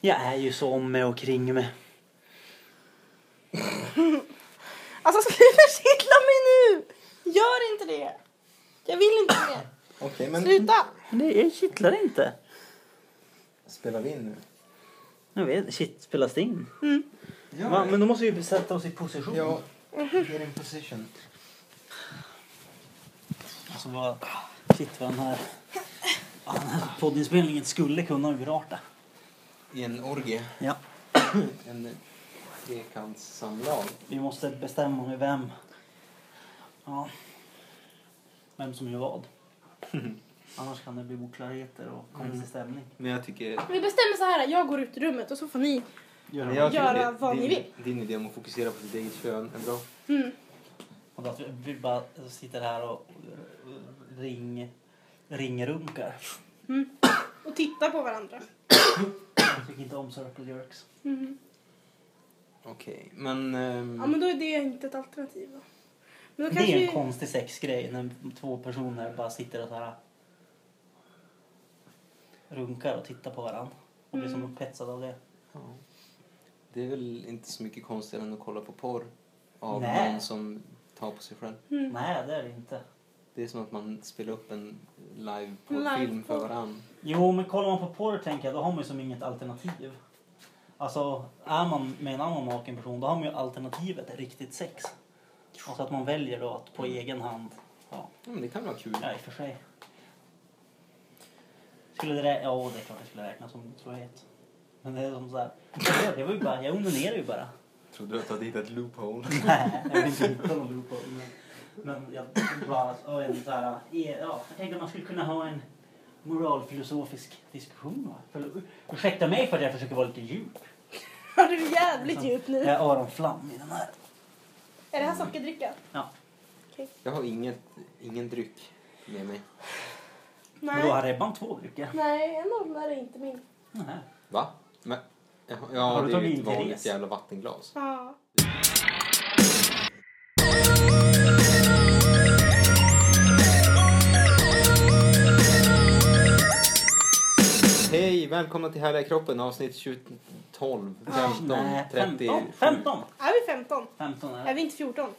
Jag är ju så om mig och kring mig. Alltså försitta mig nu! Gör inte det! Jag vill inte mer. Okej, men Sluta! Men det är- kittlar inte. spelar vi in nu? Jag vet, shit, spelas det in? Ja, Va? Men då måste vi sätta oss i position. ja. Mhm. Get in position. Alltså vad, shit vad den här, vad den här poddinspelningen skulle kunna urarta. I en orgie. Ja. En trekantssamlag. Vi måste bestämma nu vem, ja, vem som gör vad. Annars kan det bli oklarheter och konstig stämning. Men jag tycker... Vi bestämmer så här, jag går ut i rummet och så får ni... Gör men det. jag tycker Göra det- vad din, ni vill. Din idé om att fokusera på ditt eget kön är bra. Mm. Och att vi- vi bara sitter här och eh, ring, ringrunkar. Mm. Och titta på varandra. Jag tycker inte om circle jerks. Mm. Okej, men... ehm, Ja men då är det inte ett alternativ då. Men då Det kanske är en vi... konstig sexgrej när två personer bara sitter och så här runkar och tittar på varandra och blir Mm. som upphetsade av det. ja. Det är väl inte så mycket konstigare än att kolla på porr av Nej. någon som tar på sig själv. Mm. Nej, det är det inte. Det är som att man spelar upp en live Live porrfilm för porr. varann. Jo, men kollar man på porr tänker jag, då har man ju som inget alternativ. Alltså, är man med en annan naken person, då har man ju alternativet riktigt sex. Alltså att man väljer då att Mm. på egen hand, ja, Ja, men det kan vara kul. ja i och för sig. Skulle det rä- ja, det är klart det skulle räknas som otrohet. Men det är som så här, det var ju bara, jag onanerar ju bara. Trodde du att du hade hittat loophole? Nej, jag vill inte hitta någon loophole. Men, men jag bara, och en så här, eh, ja, jag tänkte att man skulle kunna ha en moralfilosofisk diskussion. Va? För, ursäkta mig för att jag försöker vara lite djup. Liksom, Ja, du är jävligt djup nu. Jag är öronflam i den här. Är det här sockerdricka? Ja. Okej. Jag har inget, ingen dryck med mig. Men då har Nej. Rebban två drycker. Nej, en ålder är inte min. Nej. Va? Men, eh, ja, Har du det är tagit ju in ett vanligt Therese? jävla vattenglas. Ja. Hej, välkomna till Härliga kroppen avsnitt 20, 12, 15, Nej, 30, 15. 15. Är vi 15? 15 är Är det. vi inte 14?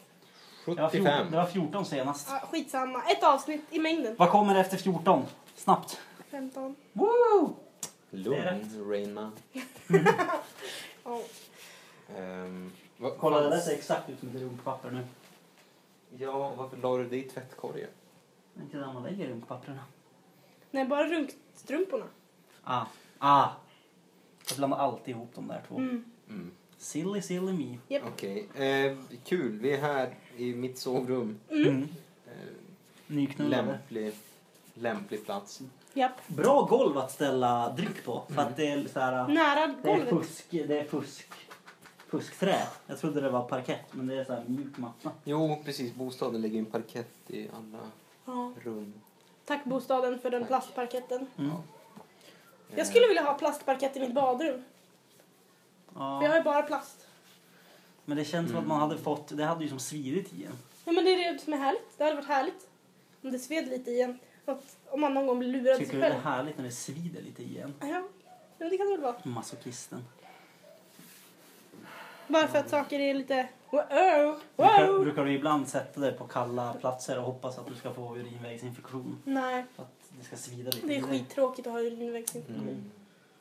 Det var 14, 75. det var 14 senast. Ja, skitsamma. Ett avsnitt i mängden. Vad kommer efter 14? Snabbt. 15. Woo! Det är Lugn, Rainman. Ja. Um, vad, Kolla, det där fanns- ser exakt ut som ett rumpapper nu. Ja, varför la du det i tvättkorgen? Det är inte där man lägger rumppapperna. Nej, bara runkstrumporna. Ah. Ah. Jag blandar alltid ihop de där två. Mm. Mm. Silly, silly me. Japp. Okej, eh, kul. Vi är här i mitt sovrum. Mm. Eh, Nyknullade. lämplig, lämplig plats. Japp. Bra golv att ställa dryck på. För att det är så här, Nära det är Mm. golvet. fusk, det är fusk, fuskträ. Jag trodde det var parkett men det är så här mjuk matta. Jo, precis. Bostaden lägger in parkett i alla Ja. rum. Tack bostaden för den Tack. plastparketten. Mm. Jag skulle vilja ha plastparkett i mitt badrum. För jag har Ja. ju bara plast. Men det känns som att man hade fått, det hade ju som svidit i en. Ja, men det är det som är härligt. Det hade varit härligt om det sved lite i en. Att- Om man någon gång blir lurad Tycker sig du det är själv. härligt när det svider lite i en? Ja, ja, men det kan det väl vara. Masochisten. Bara för att saker är lite... Wow! Brukar, wow. brukar du ibland sätta dig på kalla platser och hoppas att du ska få urinvägsinfektion? Nej, För att det ska svida lite? det i är dig? skittråkigt att ha urinvägsinfektion. Mm.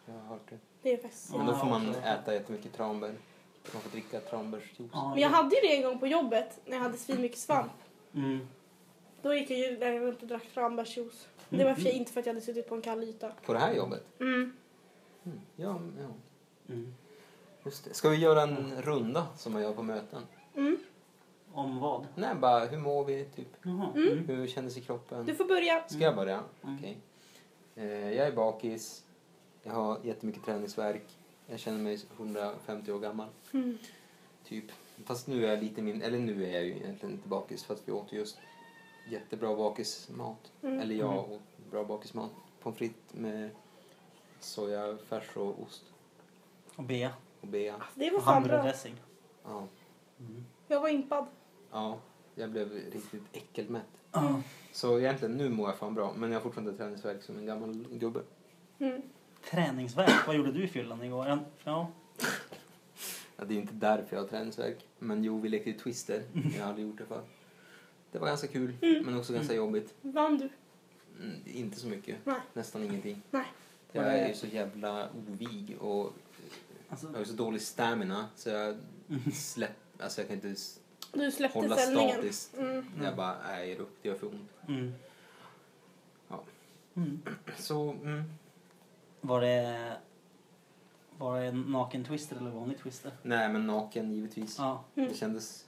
Jag har hört det. Det är faktiskt... Ja. Men då får man okej. äta jättemycket tranbär. Man får dricka tranbärsjuice. Ja, Men jag hade ju det en gång på jobbet när jag hade svinmycket svamp. mm. Då gick jag ju där runt och drack tranbärsjuice. Det var i och för Mm. sig inte för att jag hade suttit på en kall yta. På det här jobbet? Mm. Mm. Ja, ja, Mm. just det. Ska vi göra en runda som man gör på möten? Mm. Om vad? Nej, bara hur mår vi? Typ. Jaha. Mm. Mm. Hur kändes i kroppen? Du får börja. Ska jag börja? Mm. Okej. Eh, jag är bakis. Jag har jättemycket träningsvärk. Jag känner mig 150 år gammal. Mm. Typ. Fast nu är jag lite min... Eller nu är jag ju egentligen inte bakis för att vi åt just jättebra bakismat. Mm. Eller jag åt bra bakismat. Pommes frites med sojafärs och ost Och bea. och bea. Alltså, Det var Och fan bra. hamburgardressing. Ja. Mm. Jag var impad. ja, jag blev riktigt äckelmätt. Så egentligen nu mår jag fan bra men jag har fortfarande träningsvärk som en gammal gubbe. Mm. Träningsvärk. Vad gjorde du i fyllan igår? Ja, Ja. Ja, det är inte därför jag har träningsvärk. Men jo, vi lekte ju Twister. Mm. Jag har aldrig gjort det förr. Det var ganska kul, men också ganska jobbigt. Vann du? Mm, inte så mycket. Nej. Nästan ingenting. Nej. Jag Var det- är ju så jävla ovig och jag Alltså, har ju så dålig stamina så jag Mm. släpp... Alltså jag kan inte... s- Du släppte Hålla ställningen. statiskt. Mm. Jag bara, nej, jag ger upp. Det gör för ont. mm. Ja. Mm. Så, mm. Var det... Var det en naken twister eller vanlig twister? Nej, men naken givetvis. Ja. Mm. Det kändes...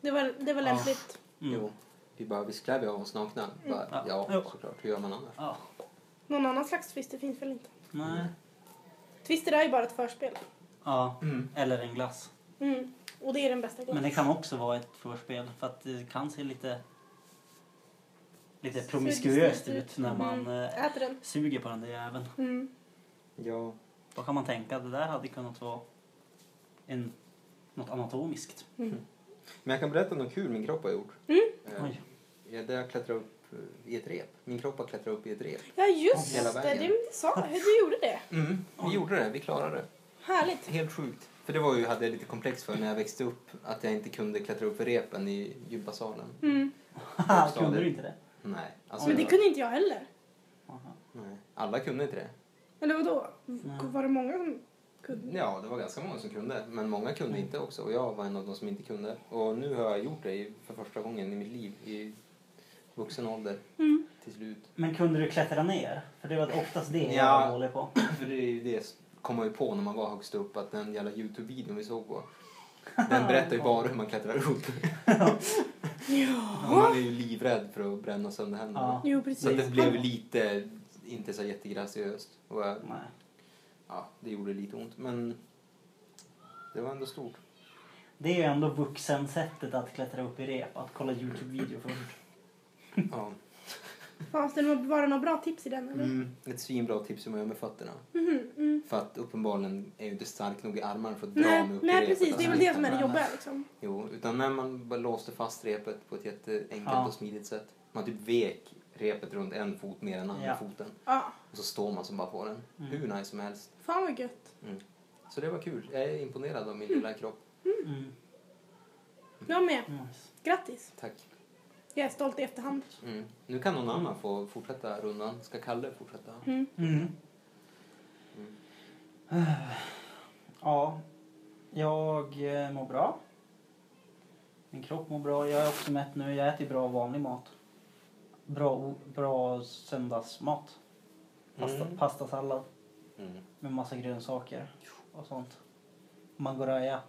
Det var, det var Ja. lämpligt. Mm. Jo. Vi bara, visst klär vi av oss nakna? Mm. Bara, Ja. ja, Jo. såklart. Hur gör man annars? Ja. Någon annan slags twister finns väl inte? Nej. Twister är ju bara ett förspel. Ja. Mm. Eller en glass. Mm. Och det är den bästa Men glassen. det kan också vara ett förspel för att det kan se lite... Lite promiskuöst ut när man Mm. eh, Äter den. suger på den där jäveln. Mm. Ja. Då kan man tänka att det där hade kunnat vara en, något anatomiskt. Mm. Men jag kan berätta något kul min kropp har gjort. Eh, Oj. Ja, där jag klättrar upp eh, i ett rep. Min kropp har klättrat upp i ett rep. Ja just Hela det, vägen. det, det sa hur du gjorde det. Mm, vi Oj. gjorde det. Vi klarade det. Härligt. Helt sjukt. För det var ju, hade jag lite komplex för när jag växte upp. Att jag inte kunde klättra upp för repen i gympasalen. Mm. Haha, Kunde du inte det? Nej. Alltså, Men det jag- kunde inte jag heller. Aha. nej. Alla kunde inte det. Eller vadå? Nej. Var det många som kunde? Ja, det var ganska många som kunde. Men många kunde inte också. Och jag var en av de som inte kunde. Och nu har jag gjort det i- för första gången i mitt liv. I vuxen ålder. Mm. Till slut. Men kunde du klättra ner? För det var oftast det jag Ja. var dålig på. För det är ju det kom man ju på när man var högst upp att den jävla Youtube-videon vi såg på den berättar ju bara hur man klättrar upp. Och man är ju livrädd för att bränna sönder händerna. Ja. Jo Så att precis. det blev lite, inte så jättegraciöst. Och jag, Nej. ja, det gjorde lite ont men det var ändå stort. Det är ju ändå vuxensättet att klättra upp i rep, att kolla Youtube-video först. Ja. Fanns det några- var det några bra tips i den eller? Mm. Ett svinbra tips hur man gör med fötterna. Mhm, mm. För att uppenbarligen är ju inte stark nog i armarna för att dra Nej, mig upp i nej repet. precis, det är väl det som är det Nej, nej. jobbiga liksom. Jo, utan när man bara låste fast repet på ett jätteenkelt Ja. och smidigt sätt. Man typ vek repet runt en fot mer än andra Ja. foten. Ja, Och så står man som bara på den. Mm. Hur nice som helst. fan vad gött. Mm. Så det var kul. Jag är imponerad av min lilla kropp. Mm. Jag med. Nice. Grattis. Tack. Jag är stolt i efterhand. Mm. Nu kan någon annan få fortsätta rundan. Ska Kalle fortsätta? Mm. Mm. Ja, jag eh, mår bra. Min kropp mår bra. Jag är också mätt nu. Jag äter ju bra vanlig mat. Bra, bra söndagsmat. Pasta, Mm. Pastasallad Mm. med massa grönsaker och sånt. Mangoraja.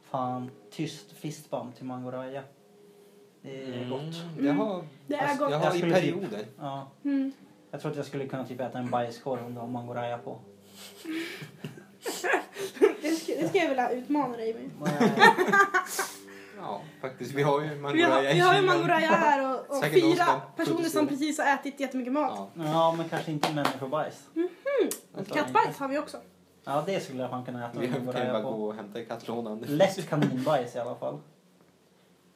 Fan, tyst fistbump till mangoraja. Det är gott. Mm. Jag har, Det är gott. Jag Jag har i skulle typ- perioder. Ja, Mm. jag tror att jag skulle kunna typ äta en bajskorv om det var mangoraja på. Det, ska, det ska jag vilja utmana dig med. Ja, faktiskt. Vi har ju Vi har, Mangoraja vi har ju Mangoraya här och, och Säkert någon som fyra har personer som producerat. precis har ätit jättemycket mat. Ja. Ja, men kanske inte människobajs. vänta. Mhm. Kattbajs har vi också. Mm. Ja, det skulle jag fan kunna äta. Vi om det kan ju vore bara jag på. gå och hämta i kattlådan. Lätt kaninbajs i alla fall.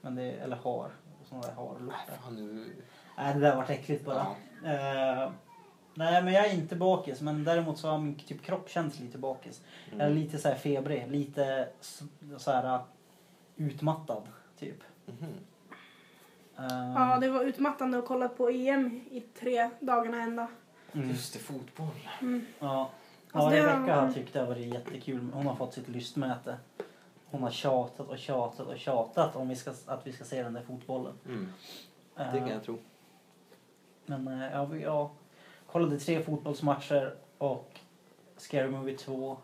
Men det, eller har. Sådana där harlortar. Fan, nu... Nej, det där vart äckligt bara. Ja. Eh, nej, men jag är inte bakis. Men däremot så har min typ, kropp känts lite bakis. Mm. Jag är lite så här febrig. Lite s- så här utmattad, typ. Mhm. Eh, Ja, det var utmattande att kolla på EM i tre dagarna ända. Mm. mm, Just det, fotboll. ja. Ja, Alltså, det- Rebecka har tyckt det har varit jättekul. Hon har fått sitt lystmäte. Hon har tjatat och tjatat och tjatat om vi ska, att vi ska se den där fotbollen. Mm. Det kan Eh, jag tro. Men eh, ja, vi- jag kollade tre fotbollsmatcher och Scary Movie 2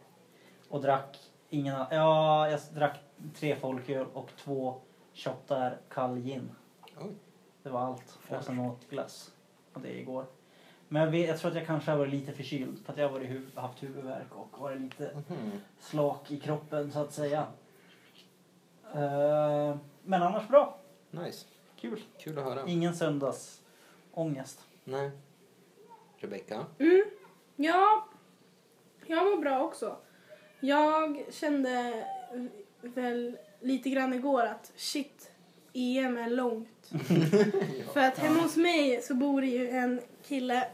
och drack ingen a- Ja, jag drack tre folköl och två shottar kall gin. Oj. Det var allt. Och sen åt glass. Och det igår. Men jag, vet, jag tror att jag kanske har varit lite förkyld för att jag har varit huv- haft huvudvärk och varit lite Mhm. slak i kroppen så att säga. Eh, men annars bra. Nice. Kul. Kul att höra. Ingen söndagsångest. Nej. Rebecka? Mm. Ja, jag mår bra också. Jag kände väl lite grann igår att shit, E EM är långt. För att hemma hos mig så bor det ju en kille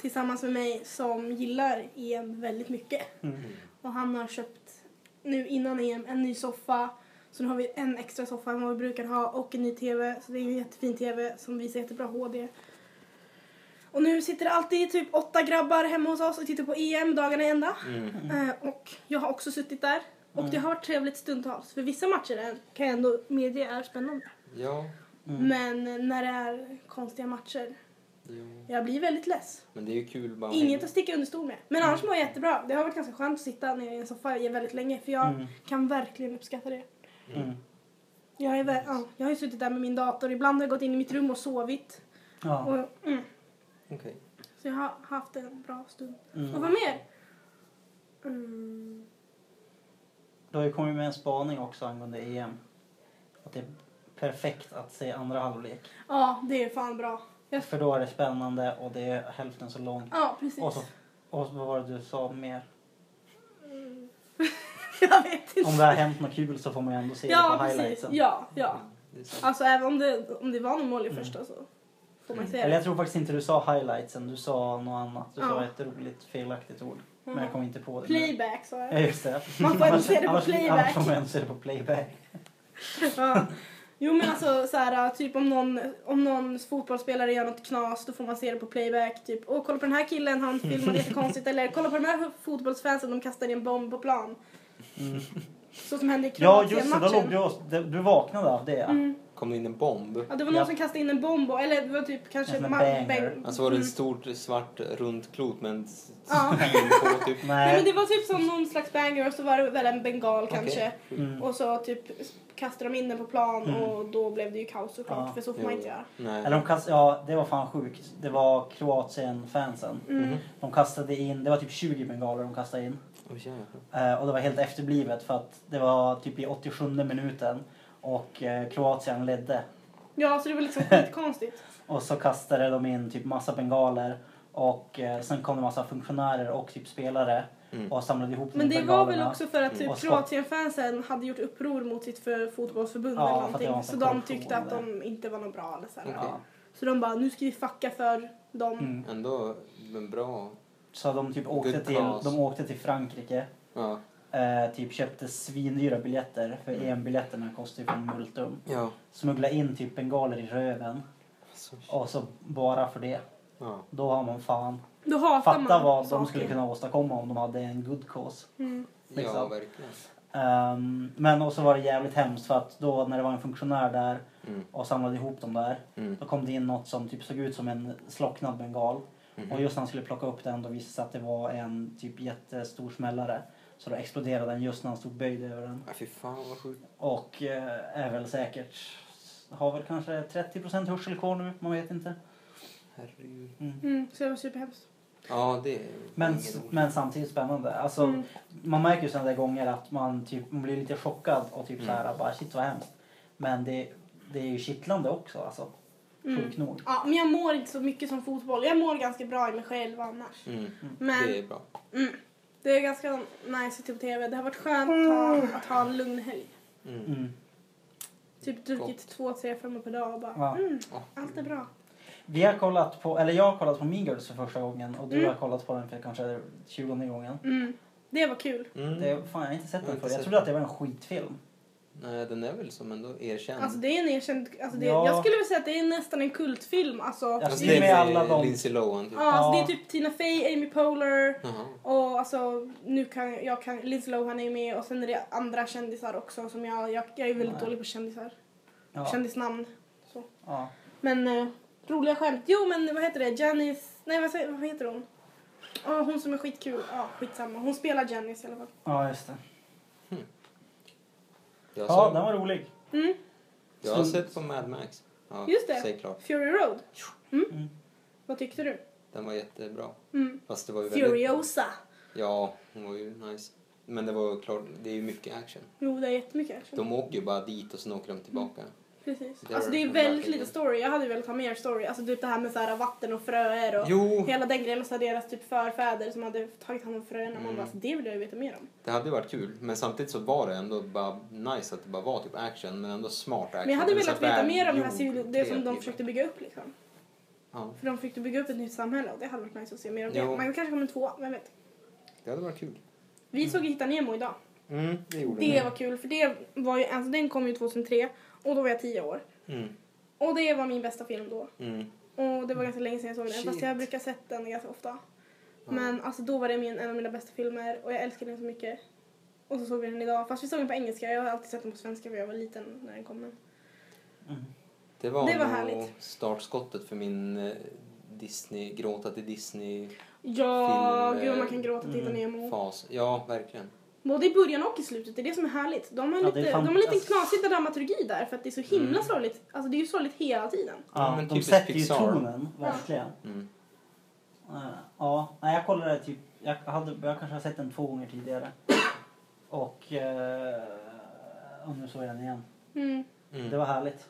tillsammans med mig som gillar EM väldigt mycket. Mm. Och han har köpt nu innan EM en ny soffa. Så nu har vi en extra soffa än vad vi brukar ha och en ny TV. Så det är en jättefin TV som visar jättebra HD. Och nu sitter det alltid typ åtta grabbar hemma hos oss och tittar på EM dagarna i ända. Mm. Eh, Och jag har också suttit där. Och Mm. det har varit trevligt stundtals. För vissa matcher är, kan jag ändå medge är spännande. Ja, Mm. Men när det är konstiga matcher, jo. jag blir väldigt less. Men det är ju kul bara att Inget hänga. att sticka under stol med. Men Mm. annars mår jag jättebra. Det har varit ganska skönt att sitta ner i en soffa väldigt länge. För jag Mm. kan verkligen uppskatta det. Mm. Jag, är vä- ja, jag har ju suttit där med min dator. Ibland har jag gått in i mitt rum och sovit. Ja. Och, mm, Okej. så jag har haft en bra stund. Och Mm. vad mer? Mm. Du har ju kommit med en spaning också angående EM. Att det är perfekt att se andra halvlek. Ja, det är fan bra. Jag- För då är det spännande och det är hälften så långt. Ja, precis. Och, så, och så vad var det du sa mer? jag vet inte. Om det har hänt något kul så får man ju ändå se det Ja, på precis. highlightsen. Ja, ja. Mm, det är sant. Alltså även om det, om det var någon mål i Mm. första så får man Mm. säga Eller det. jag tror faktiskt inte du sa highlightsen, du sa något annat. Du sa Ja. ett roligt felaktigt ord. Men Mm. jag kom inte på det. nu. Playback sa Ja, jag. just det. Man får ändå se det på Annars- Annars playback. får man ändå se det på playback. Ja. Jo men alltså så här, typ om någon, om någon fotbollsspelare gör något knas då får man se det på playback. Typ åh kolla på den här killen, han filmade jättekonstigt. Eller kolla på de här fotbollsfansen, de kastade en bomb på plan. Mm. Så som hände i Ja, just det. Då låg Kroatien-matchen. du, och- du vaknade av det. Mm. Kom det in en bomb? Ja, det var någon Ja. som kastade in en bomb och, eller det var typ kanske... En ma- banger. bäng- Alltså var det Mm. ett stort svart runt klot med en s- Ja. pil på Nej typ? men Nej. det var typ som någon slags banger och så var det väl en bengal Okej. kanske. Mm. Och så typ kastade de in den på plan Mm. och då blev det ju kaos såklart Ja. för så får Jo. man inte göra. Nej. Eller de kast, ja, det var fan sjukt. Det var Kroatien-fansen. Mm. Mhm. De kastade in, det var typ 20 bengaler de kastade in. Oj, jävlar. Eh, och det var helt efterblivet för att det var typ i 87 minuten och eh, Kroatien ledde. Ja så det var liksom skitkonstigt. Och så kastade de in typ massa bengaler och eh, sen kom det massa funktionärer och typ spelare Mm. och samlade ihop Men det var väl också för att Mm. Och typ skott. Kroatien-fansen hade gjort uppror mot sitt för fotbollsförbund Ja, eller för att det var någonting. en Så sån de korruption tyckte att där. de inte var något bra eller så, här. Okej. Ja. så de bara nu ska vi fucka för dem. Mm. Ändå men bra. Så de typ åkte Good till, cause. de åkte till Frankrike. Ja. Eh, typ köpte svindyra biljetter för Mm. EM-biljetterna kostar ju från multum. Ja. Smuggla in typ bengaler i röven Alltså, shit. och så bara för det. ja. Då har man fan. Då hatar Fatta man vad de saker. skulle kunna åstadkomma om de hade en good cause. Mm. ja, Liksom. verkligen. Ehm, men och så var det jävligt hemskt för att då när det var en funktionär där Mm. och samlade ihop dem där Mm. då kom det in något som typ såg ut som en slocknad bengal. Mhm. Och just när han skulle plocka upp den då visade det sig att det var en typ jättestor smällare. Så då exploderade den just när han stod böjd över den. Ja, fy fan vad sjukt. Och eh, är väl säkert, har väl kanske 30% hörsel kvar nu, man vet inte. Herregud. Mm. Så det var superhemskt. Ja, det är Men, ingen Mm, rolig. men samtidigt spännande. Alltså, Mm. Man märker ju sådana där gånger att man, typ, man blir lite chockad och typ Mm. såhär bara shit vad hemskt. Men det, det är ju kittlande också alltså. Mm. Sjukt nog. Ja, men jag mår inte så mycket som fotboll. Jag mår ganska bra i mig själv annars. Mm. Men Det är bra. Mm. Det är ganska nice att titta på tv. Det har varit skönt att ha, att ha en lugn helg. Mm. Mm. Typ druckit två, tre, fem per dag och Ja. bara mm, Ja. allt är bra. Vi har kollat på, eller jag har kollat på Mean Girls för första gången och du Mm. har kollat på den för kanske tjugonde gången. Mm. Det var kul. Mm. Det, fan jag har inte sett Jag har den förut. inte Jag sett trodde att det den. var en skitfilm. Nej, den är väl som ändå erkänd. Alltså det är en erkänd... Alltså det, Ja. Jag skulle vilja säga att det är nästan en kultfilm. Alltså, ja. Alltså, Fast i och med alla de- Lindsay Lohan typ. alltså det är typ Tina Fey, Amy Poehler Jaha. och alltså nu kan jag kan... Lindsay Lohan är med och sen är det andra kändisar också som jag... Jag, jag är väldigt Nej. dålig på kändisar. Ja. Kändisnamn. Ja. Men eh, roliga skämt. Jo, men vad heter det? Janice... Nej, vad, säger- vad heter hon? Ja, hon som är skitkul. Ja, skitsamma. Hon spelar Janice i alla fall. ja, just det. Jag, Ja, såg, den var rolig. Mm, jag har Så- sett på Mad Max. Ja, Just det. Säg klart. Fury Road. Mm. Vad tyckte du? Den var jättebra. Mm. Fast det var ju väldigt... Furiosa. Ja, hon var ju nice. Men det var ju klart, det är ju mycket action. Jo, det är jättemycket action. De åker ju bara dit och sen åker de tillbaka. Precis. Det alltså var- det är det var väldigt verkligen- lite story. Jag hade velat ha mer story. Alltså typ det här med så här vatten och fröer och Jo, hela den grejen. Och så här deras typ förfäder som hade tagit hand om fröerna. Man Mm. bara, alltså, det vill jag ju veta mer om. det hade ju varit kul. Men samtidigt så var det ändå bara nice att det bara var typ action. Men ändå smart action. Men jag hade Eller så velat veta väl mer om det här gjord, civil- det som de kreativ. försökte bygga upp liksom. Ja, För de fick ju bygga upp ett nytt samhälle och det hade varit nice att se mer om det. Jo. Man kanske kommer två, vem vet. det hade varit kul. Vi såg Hitta Nemo idag. Mm, det gjorde Det var kul för det var ju, alltså den kom ju 2003 och då var jag 10 år. Mm, Och det var min bästa film då. mm. Och det var ganska länge sedan jag såg den fast Shit. jag brukar sett den ganska ofta. Ja. Men alltså då var det min, en av mina bästa filmer och jag älskade den så mycket. Och så såg vi den idag. Fast vi såg den på engelska. Jag har alltid sett den på svenska för jag var liten när den kom. Men. Mm. Det var, Det var nog härligt. startskottet för min eh, Disney, gråta till Disney-fas. Ja, Film, gud man eh, kan gråta till mm, Nemo. Ja, verkligen. Både i början och i slutet, det är det som är härligt. De har, Ja, det lite, är fan- de har en liten alltså- knasig dramaturgi där för att det är så himla Mm. sorgligt. Alltså det är ju sorgligt hela tiden. Ja, men de typiskt sätter ju Pixar. tonen, verkligen. Mm. Eh, Ja, nej, jag kollade typ, jag, hade, jag kanske har sett den två gånger tidigare. Och, eh, och nu såg jag den igen. Mm. Mm. Det var härligt.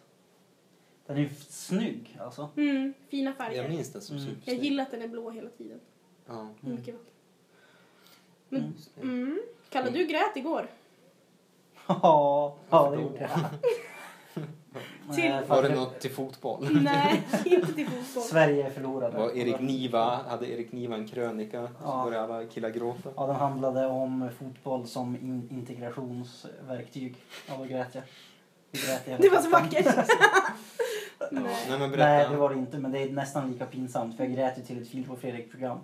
Den är ju f- snygg alltså. Mm. Fina färger. Jag minns den som Mm. Jag supersnygg. gillar att den är blå hela tiden. Ja. Mm. Mycket vackert. Men, Mm. mm. Kalle, du grät igår. Ja, ja det gjorde jag. Till- Eh, Var det faktiskt- något till fotboll? Nej, inte till fotboll. Sverige förlorade. Var Erik Niva, hade Erik Niva en krönika så Ja. började alla killar gråta. Ja, den handlade om fotboll som in- integrationsverktyg. Ja, då grät jag. Då grät jag. Det var så vackert. Ja. Nej. Nej men berätta. Nej, det var det inte, men det är nästan lika pinsamt för jag grät ju till ett Filip och Fredrik-program.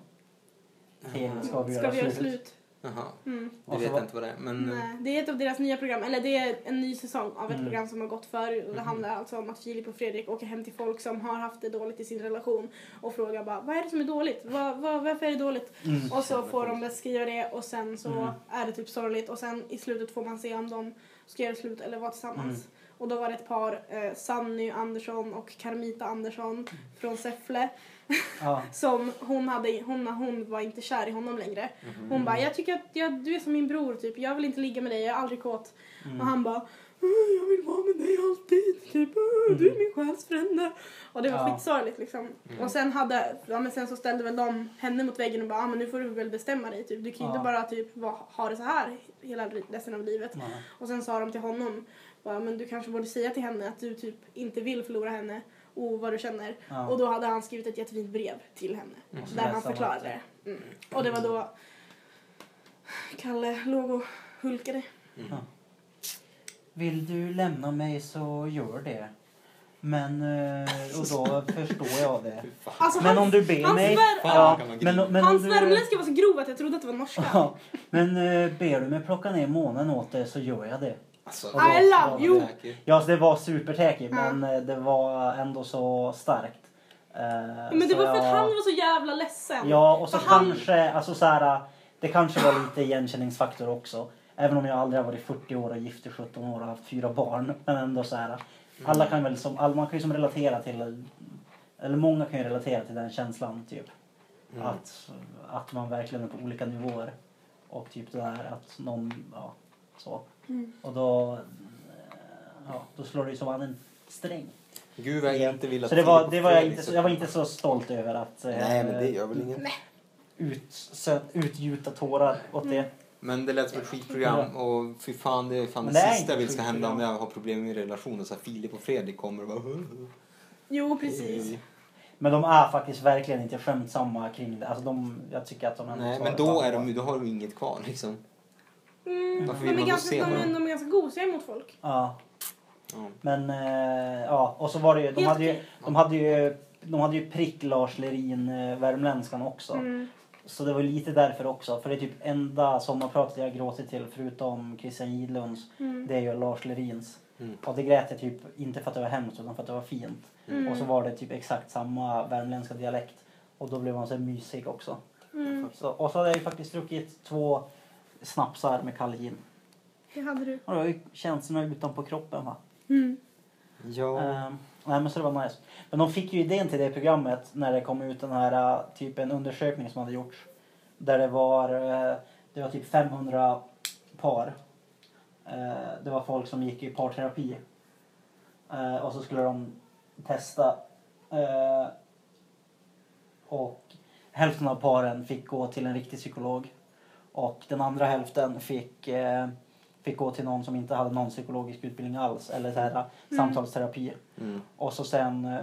Tv ska vi Ska göra vi göra slut. slut? Jaha, Mm. det Och så vet var- jag inte vad det är. Men Nej, det är ett av deras nya program, eller det är en ny säsong av ett Mm. program som har gått förr. Och det Mhm. handlar alltså om att Filip och Fredrik åker hem till folk som har haft det dåligt i sin relation och frågar bara vad är det som är dåligt? Vad, vad, varför är det dåligt? Mm. Och så får de beskriva det och sen så Mm. är det typ sorgligt och sen i slutet får man se om de ska göra slut eller vara tillsammans. Mm. Och då var det ett par, eh, Sanny Andersson och Carmita Mm. Andersson från Säffle Ja. som hon hade, hon, hon var inte kär i honom längre. mm. Mhm. Hon bara, Mm. jag tycker att jag, du är som min bror typ, jag vill inte ligga med dig, jag är aldrig kåt. Mm. Och han bara, "Mm, jag vill vara med dig alltid, typ, "Mm, du är min själsfrände. Och det var Ja. skitsorgligt liksom. Mm. Och sen hade, ja men sen så ställde väl de henne mot väggen och bara, ah, men nu får du väl bestämma dig typ, du kan ju Ja. inte bara typ va, ha det så här hela ri- resten av livet. Ja. Och sen sa de till honom, bara, men du kanske borde säga till henne att du typ inte vill förlora henne och vad du känner. Ja. Och då hade han skrivit ett jättefint brev till henne. Mm. Där han Läsa om förklarade allt det. Mm. Och det var då Kalle låg och hulkade. Mm. Ja. Vill du lämna mig så gör det. Men, eh, och då förstår jag det. Mm. Fy fan. Alltså Men han, om du ber han mig... svär- Ja, Fan, men, men om hans du, värmländska var så grov att jag trodde att det var norska. ja, men eh, ber du mig plocka ner månen åt dig så gör jag det. Alltså, ah, I vad- love vad you. läcker. Ja, alltså, det var supertäkigt Ja. men eh, det var ändå så starkt. Eh, Men det så var för att jag- han var så jävla ledsen. Ja, och så För han- kanske, alltså så här, det kanske var lite igenkänningsfaktor också. Även om jag aldrig har varit 40 år och gift i 17 år och haft fyra barn. Men ändå så här, Mm. alla kan väl som, all, man kan ju som relatera till, eller många kan ju relatera till den känslan typ. Mm. Att, att man verkligen är på olika nivåer. Och typ det där att någon, ja, så. Mm. Och då, eh, ja, då slår det ju som an en sträng. Gud vad jag inte vill att Så det var, Filip det och var jag, Fredrik inte så, ska- jag var inte så stolt över att eh, Nej men det gör väl inget. ut, sö- utgjuta tårar åt Mm. det. Men det lät som ett skitprogram och fy fan det är fan det, Men det är sista jag inte vill ska hända om skitprogram. jag har problem med relationen. Så här, Filip och Fredrik kommer och bara... "Huh, huh." Jo, precis. Mm. Men de är faktiskt verkligen inte skämtsamma kring det. Alltså de, jag tycker att de ändå Nej tar men det då, på är allvar. de, ju- då har de ju inget kvar liksom. Mm. Varför De, vill är man då ganska, se de, honom? är- de är ganska gosiga mot folk. Ja, Ja. men eh, ja. Och så var det ju, de Helt hade ju, okej. de hade ju, de hade ju prick Lars Lerin, eh, värmländskan också. Mm. Så det var lite därför också. För det är typ enda sommarpratet jag gråtit till förutom Christian Gidlunds. Mm. Det är ju Lars Lerins. Mm. Och det grät jag typ inte för att det var hemskt utan för att det var fint. Mm. Och så var det typ exakt samma värmländska dialekt. Och då blev man så här mysig också. Mm. Så, och så hade jag ju faktiskt druckit två snapsar med Kalle gin. Det hade du. Och det var ju känslorna utanpå kroppen va. Mm. Ja. Ehm, nej men så det var nice. Men de fick ju idén till det programmet när det kom ut den här eh, typ en undersökning som hade gjorts. Där det var, eh, det var typ 500 par. Eh, det var folk som gick i parterapi. Eh, och så skulle de testa. Eh, och hälften av paren fick gå till en riktig psykolog. Och den andra hälften fick, eh, fick gå till någon som inte hade någon psykologisk utbildning Mm. alls. Eller så här, samtalsterapi. Mm. Och så sen eh,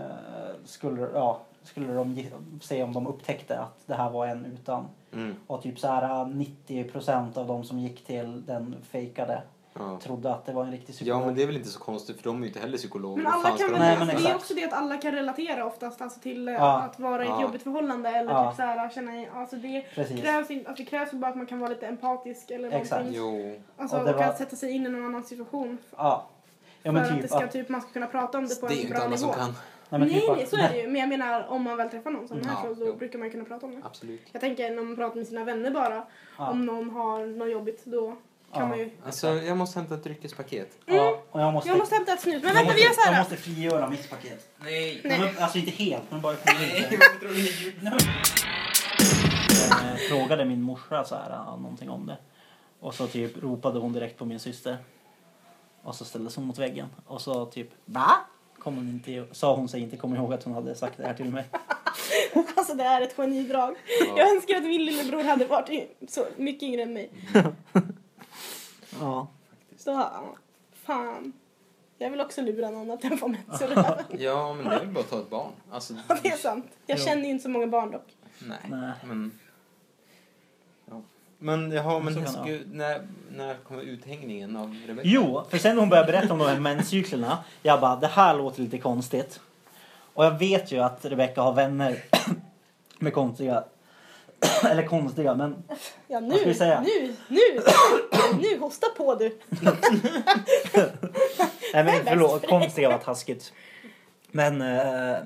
skulle, ja, skulle de ge- se om de upptäckte att det här var en utan. Mm. Och typ så här 90 av de som gick till den fejkade Ja. trodde att det var en riktig psykolog. ja, men det är väl inte så konstigt för de är ju inte heller psykologer. Men Vad alla kan fan ska väl, de Nej, veta? men det är exakt. också det att alla kan relatera oftast alltså till eh, Ja. att vara i ett Ja. jobbigt förhållande eller Ja. typ så här, känna i, alltså det Precis. krävs, in, alltså det krävs bara att man kan vara lite empatisk eller Exakt. någonting. Jo. Alltså Och och, det var- att sätta sig in i någon annans situation. Ja. Ja Alltså, för men att det typ ska, att... typ, man ska kunna prata om det Det på är ju en inte bra alla nivå. som kan. Nej, men Nej, typ nej, att, så är det ju. Men jag menar om man väl träffar någon som den här Ja, så då jo. brukar man kunna prata om det. Absolut. Jag tänker när man pratar med sina vänner bara. Ja. Om någon har något jobbigt då kan Ja. man ju... Mm, Alltså, jag måste hämta ett dryckespaket. Ja, och jag måste... Jag måste hämta ett snus. Men jag vänta måste- vi gör så Jag här. måste frigöra mitt paket. Nej. Nej. Men, alltså inte helt, men bara frigöra lite. Varför drar du ner ljudet? Eh, frågade min morsa så här, eh, någonting om det. Och så typ ropade hon direkt på min syster. Och så ställdes hon mot väggen. Och så typ va? Kom hon inte, sa hon sig inte komma ihåg att hon hade sagt det här till mig. Alltså det är ett genidrag. Ja. Jag önskar att min lillebror hade varit y- så mycket yngre än mig. Ja. Så ja, fan. Jag vill också lura någon att den får med sig det. Ja, men det är väl bara att ta ett barn. Alltså, Det är sant. Jag Jo. känner ju inte så många barn dock. nej. Nej. Men, ja. men jaha, men Så kan jag det skulle, när, när kommer uthängningen av Rebecca? Jo, för sen när hon började berätta om de här menscyklerna. Jag bara, det här låter lite konstigt. Och jag vet ju att Rebecca har vänner med konstiga, eller konstiga, men Ja nu, Vad ska vi säga? nu, nu, nu, hosta på du. Nej är men bäst förlåt, för konstiga var taskigt. Men, eh,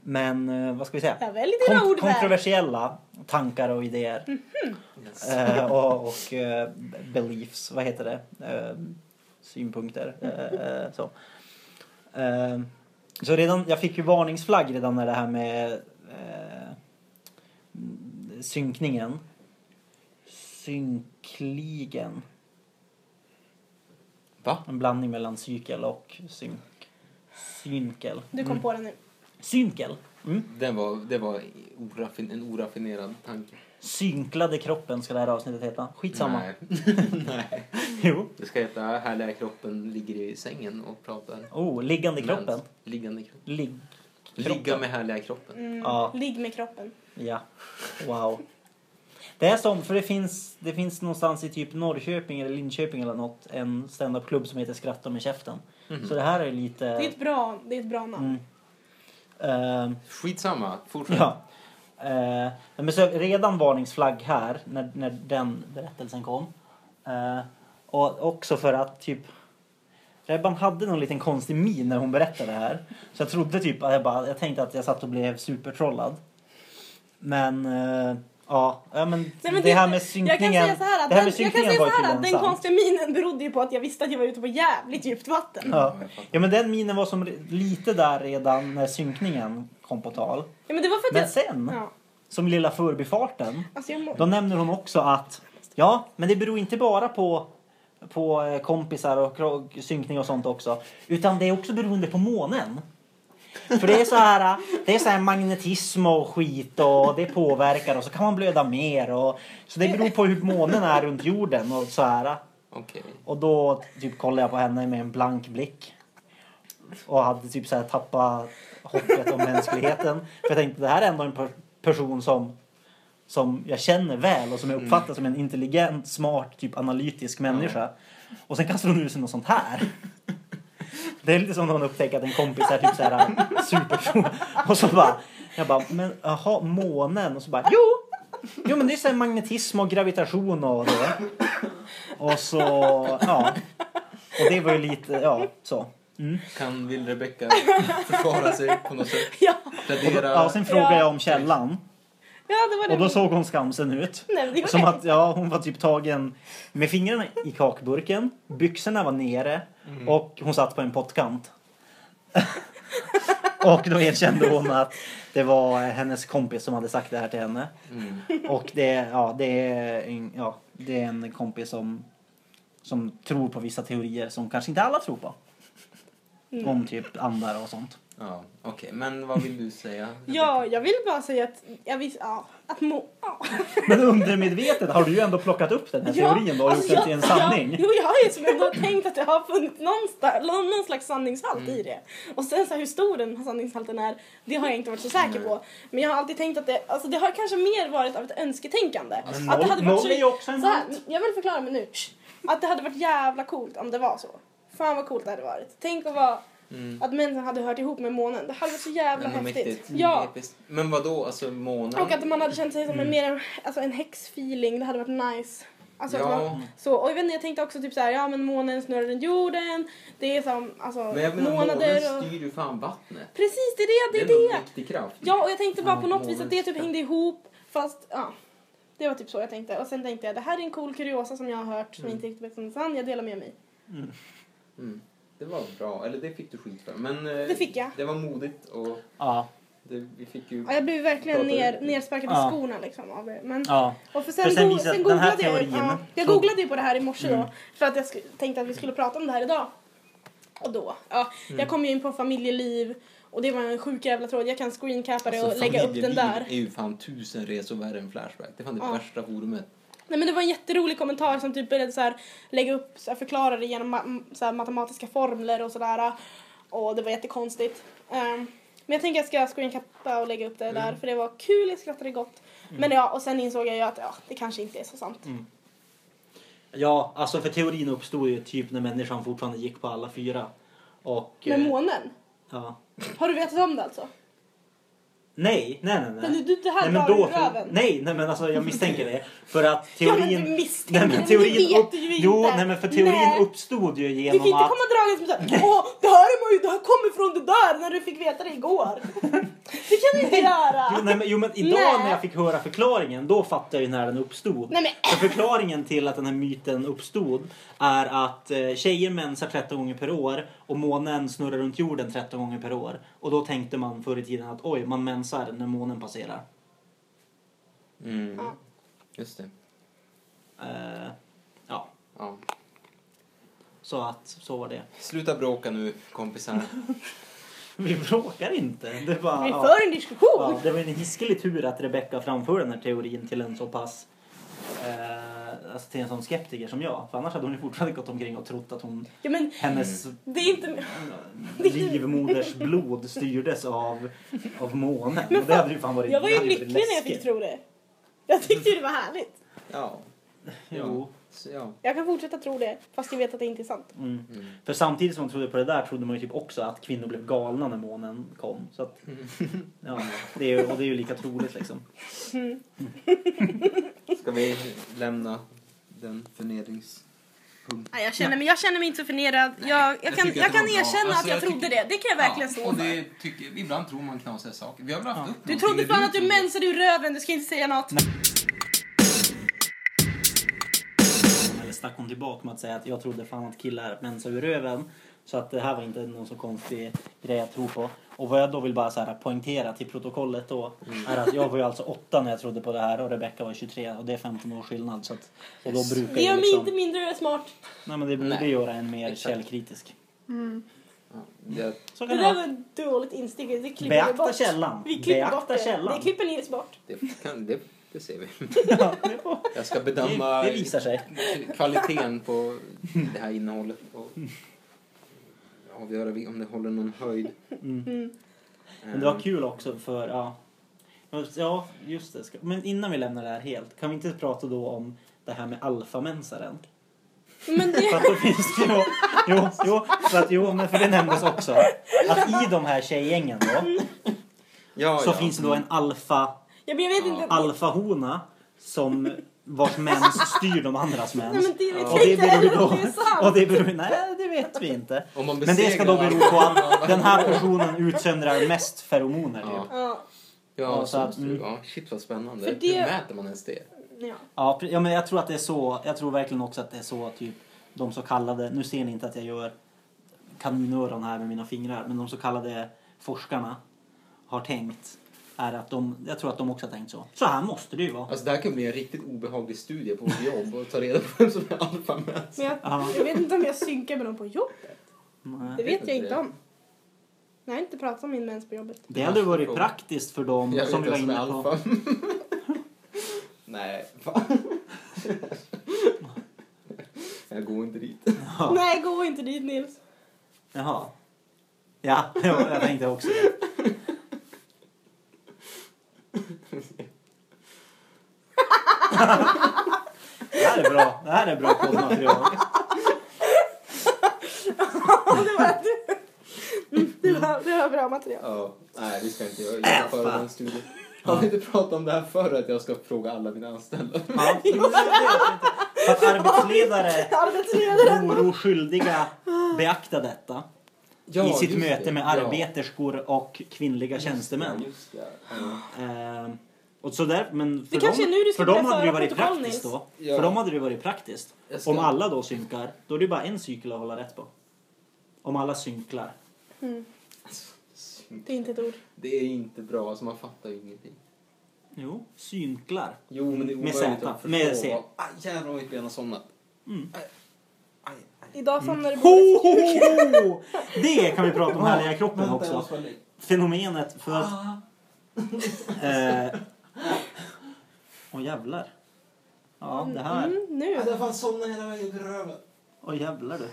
men eh, vad ska vi säga? Jag väljer dina Kon- ord väl. kontroversiella tankar och idéer. Yes. Eh, och och eh, beliefs, vad heter det? Eh, synpunkter. Eh, eh, så. Eh, så redan, jag fick ju varningsflagg redan när det här med eh, mm, synkningen. Synkligen. Va? En blandning mellan cykel och synk. Synkel. Du kom på det nu. Synkel. Mm. Den var, det var oraffin, en oraffinerad tanke. Synklade kroppen ska det här avsnittet heta. Skitsamma. Nej. Nej. Jo. Det ska heta Härliga kroppen ligger i sängen och pratar. Oh, liggande i kroppen. Mens. Liggande i kroppen. Ligg. Ligga med härliga kroppen. Mm, Ja. Ligg med kroppen. Ja. Wow. Det är som, för det finns, det finns någonstans i typ Norrköping eller Linköping eller något en standupklubb som heter Skratta med käften. Så det här är lite... Mhm. Det är ett bra, det är ett bra namn. Eh. Mm. Ehm, Skitsamma, fortsätt. Ja. Eh, men så redan varningsflagg här när, när den berättelsen kom. Eh, och också för att typ Rebban hade någon liten konstig min när hon berättade det här. Så jag trodde typ att jag bara, jag tänkte att jag satt och blev supertrollad. Men eh, ja, ja men, Nej, det, men här med synkningen. Jag kan säga så här att, det här med den, jag kan synkningen säga var så här tydligen att den sant. konstiga minen berodde ju på att jag visste att jag var ute på jävligt djupt vatten. Ja. Ja. ja men den minen var som re- lite där redan när synkningen kom på tal. men det var för att Men jag... sen, Ja. som lilla förbifarten. Alltså jag må... Då nämner hon också att ja, men det beror inte bara på, på eh, kompisar och kro- synkning och sånt också. Utan det är också beroende på månen. För det är så här, eh, det är så här magnetism och skit och det påverkar och så kan man blöda mer. Och, så det beror på hur månen är runt jorden och så här. eh. Okej. Och då typ kollade jag på henne med en blank blick. Och hade typ så här tappat hoppet om mänskligheten. För jag tänkte det här är ändå en per- person som, som jag känner väl och som jag uppfattar som en intelligent, smart, typ analytisk människa. Och sen kastar hon ur sig något sånt här. Det är lite som när man upptäcker att en kompis är typ så här superstor. Och så bara, jag bara, men jaha, månen? Och så bara, jo! Jo men det är så här magnetism och gravitation och det. Och så, ja. Och det var ju lite, ja, så. Mm. Kan, vill Rebecca försvara sig på något sätt? Ja. Och då, Plädera? ja, sen frågade jag om källan. ja, det var det. Och då såg hon skamsen ut. Nej, men det gjorde Som jag att, ja, hon var typ tagen med fingrarna i kakburken, byxorna var nere och hon satt på en pottkant. och då erkände hon att det var hennes kompis som hade sagt det här till henne. Mm. Och det, ja, det, är, en- ja, det är en kompis som, Mm. som tror på vissa teorier som kanske inte alla tror på. Om typ andar och sånt. Ja, okej. Men vad vill du säga? Ja, jag vill bara säga att jag visste, ja, att må, ja. Men undermedvetet har du ju ändå plockat upp den här teorin då och gjort alltså, den till en jag- sanning. Jag, jo, jag har ju som ändå tänkt att det har funnits någonstans, någon, någon slags sanningshalt i det. Och sen så här, hur stor den här sanningshalten är, det har jag inte varit så säker på. Men jag har alltid tänkt att det, alltså det har kanske mer varit av ett önsketänkande. Men att det noll, hade varit noll så, är ju också en så här, halt. jag vill förklara mig nu. Att det hade varit jävla coolt om det var så. Fan vad coolt det hade varit. Tänk att, vara, Mm. att människan hade hört ihop med månen. Det hade varit så jävla Men häftigt. mäktigt. Mm, Ja. Episkt. Men vad då? Alltså månen? Och att man hade känt sig som Mm. en, mer en, alltså en häxfeeling, det hade varit nice. Alltså att man, ja, så, och jag, vet inte, jag tänkte också typ så här, ja men månen snurrar runt jorden, det är som alltså, men jag menar månader månen och... styr ju fan vattnet. Precis, det är det, det är är någon det! riktig kraft. Ja, och jag tänkte bara Ja, på något vis månen att det typ styr. hängde ihop, fast ja. Det var typ så jag tänkte. Och sen tänkte jag, det här är en cool kuriosa som jag har hört som Mm. inte riktigt vet om den är sann, jag delar med mig. Mm. Det var bra. Eller det fick du skit för. Men eh, Det fick jag. Det var modigt och Ja, det, vi fick ju... Ja, jag blev verkligen Pratar ner, du? nersparkad i Ja. skorna liksom av det. Men, ja. Och för sen, För sen go- visar sen den här googlade jag, ju- teorin- ja, jag så- googlade ju på det här i morse Mm. då för att jag sk- tänkte att vi skulle prata om det här idag. Och då, ja, Mm. jag kom ju in på familjeliv och det var en sjuk jävla tråd. Jag kan screencapa det Alltså, och lägga upp den där. familjeliv Alltså, är ju fan tusen resor värre än Flashback. Det är fan det Ja. värsta forumet. Nej men det var en jätterolig kommentar som typ började så här, lägga upp, så här, förklara det genom ma- så här, matematiska formler och sådär. Och det var jättekonstigt. Ehm, men jag tänker att jag ska screencappa och lägga upp det Mm. där för det var kul, jag skrattade gott. Men ja, och sen insåg jag ju att ja, det kanske inte är så sant. Ja, alltså för teorin uppstod ju typ när människan fortfarande gick på alla fyra. Och... Men eh, månen, ja. har du vetat om det alltså? Nej, nej, nej. nej. Men du, det här nej, drar men då, ur röven. nej, nej, men alltså jag misstänker det. För att Ja, teorin... men du misstänker nej, men det, men teorin det vet upp- du ju Jo, inte. nej, men för teorin Nej. uppstod ju Du kan genom inte att... komma dragandes med såhär, åh det här, är ju, det här kommer från det där när du fick veta det igår. Det kan du inte Jo, göra. nej, men, jo, men idag Nej. när jag fick höra förklaringen, då fattade jag ju när den uppstod. Nej men För förklaringen till att den här myten uppstod är att eh, tjejer mensar 13 gånger per år och månen snurrar runt jorden 13 gånger per år. Och då tänkte man förr i tiden att oj, man mensar när månen passerar. Mm. Ja. Just det. Eh, ja, Ja. så att så var det. Sluta bråka nu kompisar. Vi bråkar inte. Det var, vi ja, för en diskussion. ja, det var en hiskelig tur att Rebecca framförde den här teorin till en så pass eh, alltså till en sån skeptiker som jag. För annars hade hon ju fortfarande gått omkring och trott att hon, Ja, men hennes det är inte... livmoders blod styrdes av, av månen. Och det hade ju fan varit Jag var ju det hade varit lycklig när jag läskigt. fick tro det. Jag tyckte ju det var härligt. Ja. Jo. Så, ja. Jag kan fortsätta tro det fast jag vet att det inte är sant. Mm. Mm. För samtidigt som man trodde på det där trodde man ju typ också att kvinnor blev galna när månen kom. Så att, ja, det är, ju- och det är ju lika troligt liksom. Ska vi lämna den förnedrings... Nej, jag, känner, men jag känner mig inte så förnedrad. Jag, jag kan, tycker jag att det kan var bra. erkänna Alltså, att jag, jag trodde det. Det kan jag verkligen stå och för. det tycker, Ibland tror man knasiga saker. Vi har väl haft upp Du någonting trodde där fan att du trodde. mensade ur röven, du ska inte säga något. Eller stack hon tillbaka med att säga att jag trodde fan att killar mensar ur röven. Så att det här var inte någon så konstig grej att tro på. Och vad jag då vill bara så här poängtera till protokollet då är att jag var ju alltså åtta när jag trodde på det här och Rebecca var 23 och det är 15 års skillnad. Så att, och då brukar Det gör ju mig liksom... inte mindre smart. Nej men det borde Nej. göra en mer Exakt. källkritisk. Ja, det, Så kan Det det där vara. var ett dåligt instick. Det klipper vi Beakta bort. källan. Vi klipper bort Beakta det. källan. Det klipper Nils bort. det, kan, det, det ser vi. Ja, det får- Jag ska det, bedöma det visar sig. kvaliteten på det här innehållet och avgöra vi- om det håller någon höjd. Mm. Ehm, Men det var kul också för, ja. Ja, just det. Ska- Men innan vi lämnar det här helt, kan vi inte prata då om det här med alfamensaren? Men För det... att då finns det ju... Jo, jo, för att, jo, men för det nämndes också. Att i de här tjejgängen Mm. då, Ja, så ja. finns det då en alfa, Ja, men jag vet inte. alfahona som vars mens styr de andras Nej, mens. men det Och vet jag det inte heller beror om det är då... sant. Och det beror, nej, det vet vi inte. Om man Men det ska då besegrar bero på varandra, att varför den här då? personen utsöndrar mest feromoner. Ja. Typ. Ja, Ja, Ja, så så att- måste det mm. vara. Shit vad spännande. För det- Hur mäter man ens det? ja. Ja, pre- ja, men jag tror att det är så. Jag tror verkligen också att det är så typ de så kallade, nu ser ni inte att jag gör kaninöron här med mina fingrar, men de så kallade forskarna har tänkt är att de, jag tror att de också har tänkt så. Så här måste det ju vara. Alltså det här kan bli en riktigt obehaglig studie på vårt jobb och ta reda på vem som är alfamän. Men jag, Ja. Mm. jag vet inte om jag synkar med dem på jobbet. Nej. Det vet jag inte om. Nej, jag har inte pratat om min mens på jobbet. Det hade varit praktiskt för dem Jag som vi vet var ens med inne på. alfa. Nej, fan. Jag går inte dit. Ja. Nej, gå inte dit Nils. Jaha. Ja, det var- jag tänkte också det. Det här är bra. Det här är bra poddmaterial. Du Mm. har, du har bra material. Ja, nej, vi ska inte göra äh, föreläsningsstudier. Har vi inte pratat om det här förr att jag ska fråga alla mina anställda? Ja, men det vet jag inte. För att arbetsledare Arbetsledaren. voro skyldiga beakta detta i sitt möte med arbeterskor och kvinnliga tjänstemän. Just det. Ja. Ehm, och så där, men för Det kanske dem, är nu du ska för dem börja hade det ju föra varit protokoll, praktiskt Nils. då. Ja. För dem hade det ju varit praktiskt. Jag ska- Om alla då synkar, då är det ju bara en cykel att hålla rätt på. Om alla synklar. Mm, Synd. det är inte ett ord. Det är inte bra, alltså man fattar ju ingenting. Jo, synklar. Jo, men det Med är omöjligt Z, att förstå. med C. vad- Aj, jävlar vad mitt ben har somnat. Mm. Aj, aj, aj. Idag somnade du Ho, på ho, ho, ho. Det kan vi prata om härliga kroppen Vänta, jag också. måste bara lägga- Fenomenet för att... Ah. Eh, Åh jävlar. Ja, det här. Mm, nu. Aj, Jag har fan somnat hela vägen till röven. Åh jävlar du.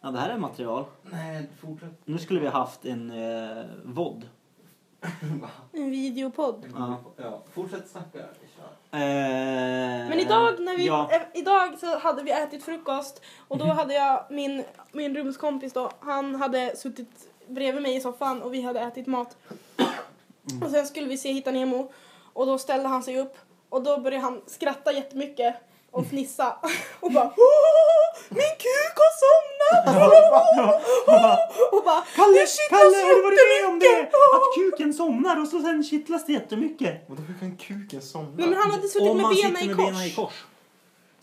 Ja, det här är material. Nej, fortsätt. Nu skulle vi haft en eh, vodd. Va? En videopodd. Ja. Ja, fortsätt snacka. Kör. Men Men idag, när vi, Eh, Ja, Mhm. eh, idag så hade vi ätit frukost och då hade jag min, min rumskompis då, han hade suttit bredvid mig i soffan och vi hade ätit mat. Mm. Och sen skulle vi se Hitta Nemo och då ställde han sig upp och då började han skratta jättemycket Mm. och fnissa och bara "Åh, min kuk har somnat! Och bara Kalle, "Det kittlas Kalle, har du varit med om det? jättemycket!" Att kuken somnar och så sen kittlas det jättemycket. Vadå, hur kan kuken somna? Nej men han hade suttit Om med man benen sitter i med kors. benen i kors.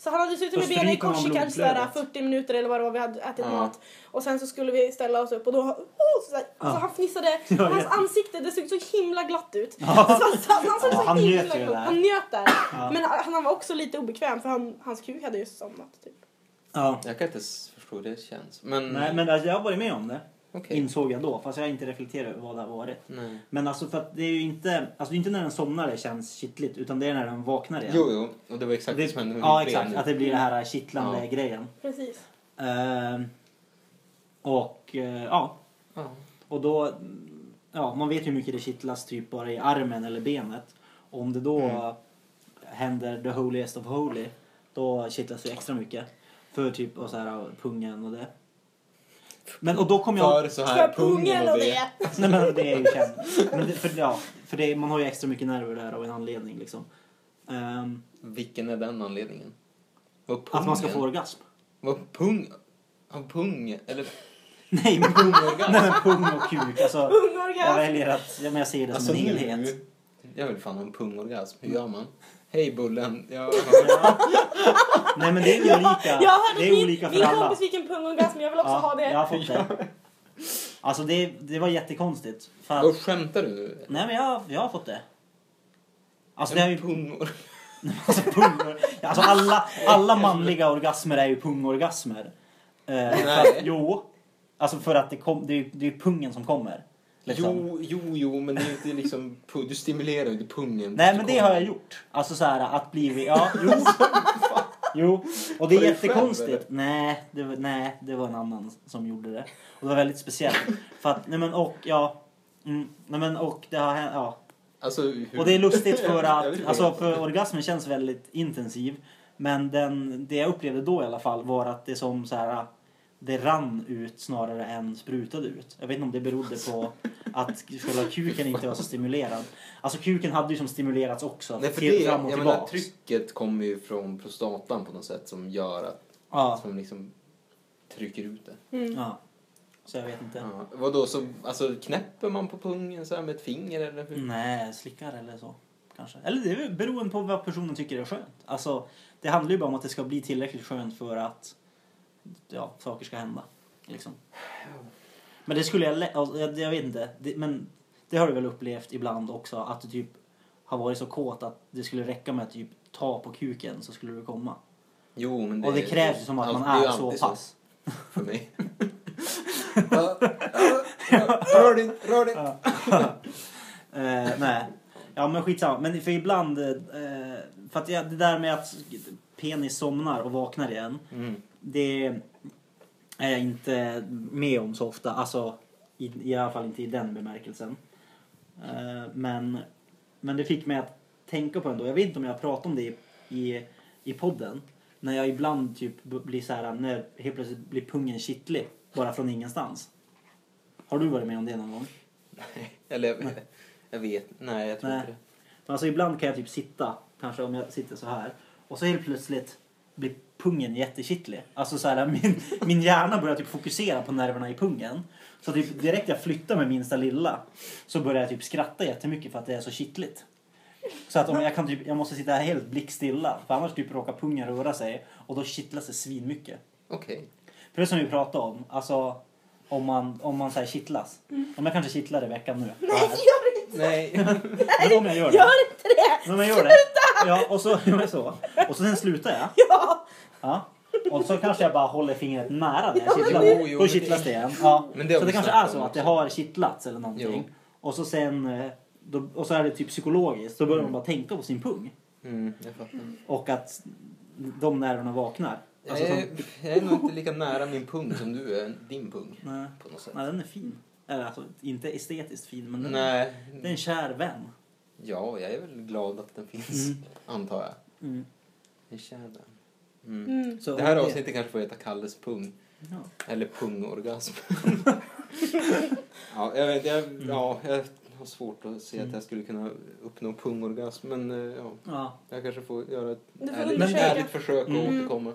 Så han hade suttit Då med benen i stryker man kors i kanske sådär blodflödet. 40 minuter eller vad det var vi hade ätit Ja. mat. Och sen så skulle vi ställa oss upp och då... Oh, så, så Ja. han fnissade. Ja, hans jätte- ansikte, det såg så himla glatt ut. Ja. Så, så, han såg Ja, så han himla njöt ju glatt. där. Han njöt där. Ja. Men han, han var också lite obekväm för han, hans kuk hade just somnat. Typ. Ja. Jag kan inte s- förstå hur det känns. Men... Nej, men alltså, jag har varit med om det. Okej. Insåg jag då, fast jag har inte reflekterat över vad det har varit. Nej. Men alltså för att det är ju inte, alltså det är inte när den somnar det känns kittligt utan det är när den vaknar igen. Jo, jo. Och det var exakt det, det, som hände med ja mitt ben exakt, nu. att det blir den här kittlande Ja. grejen. Precis. Ehm, och eh, ja, Ja. och då, mm, ja man vet ju hur mycket det kittlas typ bara i armen eller benet. Om det då Mm. händer the holiest of holy, då kittlas det ju extra mycket. För typ och så här, pungen och det. Men och då kom jag... För så För här pungen och det. Nej men det är ju känt. Men det, för ja, för det, man har ju extra mycket nerver där av en anledning liksom. Ehm, Vilken är den anledningen? Var pungen? att man ska få orgasm. Var pung... Av pung? Eller Nej men pung, pungorgasm? nej, men pung och kuk alltså. Jag Ungorgasm. väljer att, ja, men jag ser det alltså som en helhet. nu... Jag vill fan ha en pungorgasm. Hur gör man? Hej Bullen. Jag... Ja. Nej men det är olika. Jag hörde det att min- är olika för min alla. kompis fick en pungorgasm men jag vill också ha det. jag har fått det. Alltså det, det var jättekonstigt. För att, Och skämtar du nu? nej men jag, jag har fått det. Alltså det är En ju pungor... Alltså, pung, alltså alla, alla manliga orgasmer är ju pungorgasmer. Eh, för att, Nej. jo. Alltså för att det, kom, det, är, ju- det är ju pungen som kommer. Liksom. Jo, jo, jo, men det är inte liksom... pu- Du stimulerar ju inte pungen. Nej men Du det har kommer- jag gjort. Alltså så här att bli... Ja, jo. jo. Och det är Var det jättekonstigt. själv, Nej det, var, nej, det var en annan som gjorde det. Och det var väldigt speciellt. För att, nej men och ja. Mm, nej men och det har hänt, ja. Alltså, hur... Och det är lustigt för Jag vet att inte. alltså, för orgasmen känns väldigt intensiv. Men den, det jag upplevde då i alla fall var att det som så här det rann ut snarare än sprutade ut. Jag vet inte om det berodde på att själva kuken inte var så stimulerad. Alltså kuken hade ju som stimulerats också. Nej, för till- det, fram och jag menar, tillbaks. trycket kommer ju från prostatan på något sätt som gör att ja, som liksom trycker ut det. Mm. ja. Så jag vet inte. Ja. Vadå, så alltså, knäpper man på pungen så här med ett finger eller Mm. hur? Nej, slickar eller så. Kanske. Eller det är väl beroende på vad personen tycker är skönt. Alltså, det handlar ju bara om att det ska bli tillräckligt skönt för att ja, saker ska hända. Liksom. Men det skulle jag... lä- alltså, Jag, jag vet inte. Det, men det har du väl upplevt ibland också att du typ har varit så kåt att det skulle räcka med att typ ta på kuken så skulle du komma. Jo, men det, alltså, Och det krävs ju som att Ja, man det är ju så alltid pass. för mig. Ja, ja, Rör dig inte, rör dig inte. Eh, nej. Ja men skitsamma. Men för ibland... Eh, för att jag, det där med att penis somnar och vaknar igen. Mm. Det är jag inte med om så ofta. Alltså i, i alla fall inte i den bemärkelsen. Eh, men, men det fick mig att tänka på ändå. Jag vet inte om jag pratat om det i, i, i podden. När jag ibland typ b- blir så här när helt plötsligt blir pungen kittlig. Bara från ingenstans. Har du varit med om det någon gång? Nej, Eller jag, jag vet Nej, jag tror Nej. inte det. Men alltså ibland kan jag typ sitta, kanske om jag sitter så här och så helt plötsligt blir pungen jättekittlig. Alltså så här, min, min hjärna börjar typ fokusera på nerverna i pungen. Så typ direkt jag flyttar med minsta lilla så börjar jag typ skratta jättemycket för att det är så kittligt. Så att om jag, kan typ, jag måste sitta här helt blickstilla för annars typ råkar pungen röra sig och då kittlas det svinmycket. Okej. För det som vi pratade om, alltså om man, om man så här kittlas. Om jag kanske kittlar i veckan nu. Nej, gör inte Nej. Men om jag gör det. Mm. det! Gör inte det! Men man gör det. Ja, och så, ja, men så. Och så sen slutar jag. Ja! Ja. Och så kanske jag bara håller fingret nära när jag Ja, men kittlar. det- Jo, jo, Då men kittlas det- det igen. Ja. Men det har så vi det kanske är snackat så om att det också. har kittlats eller någonting. Jo. Och så sen eh, då, och så är det typ psykologiskt. Då börjar man bara tänka på sin pung. Mm, jag fattar. Och att de nerverna vaknar. Alltså, jag, som, är, jag är nog inte lika nära min pung som du är din pung. nej, På något sätt. nej, den är fin. Eller alltså, inte estetiskt fin men den, Nej. det är en kär vän. Ja, jag är väl glad att den finns. Mm. Antar jag. Mm. Det är kär där. Mm. Mm. Så, Det här avsnittet kanske får heta Kalles pung. Ja. Eller pungorgasm. ja, jag, vet, jag, Mm. ja, jag har svårt att se att jag skulle kunna uppnå pungorgasm. Men eh, ja, Ja. jag kanske får göra ett Du får ärligt, undersöka. ärligt försök att Mm. återkomma.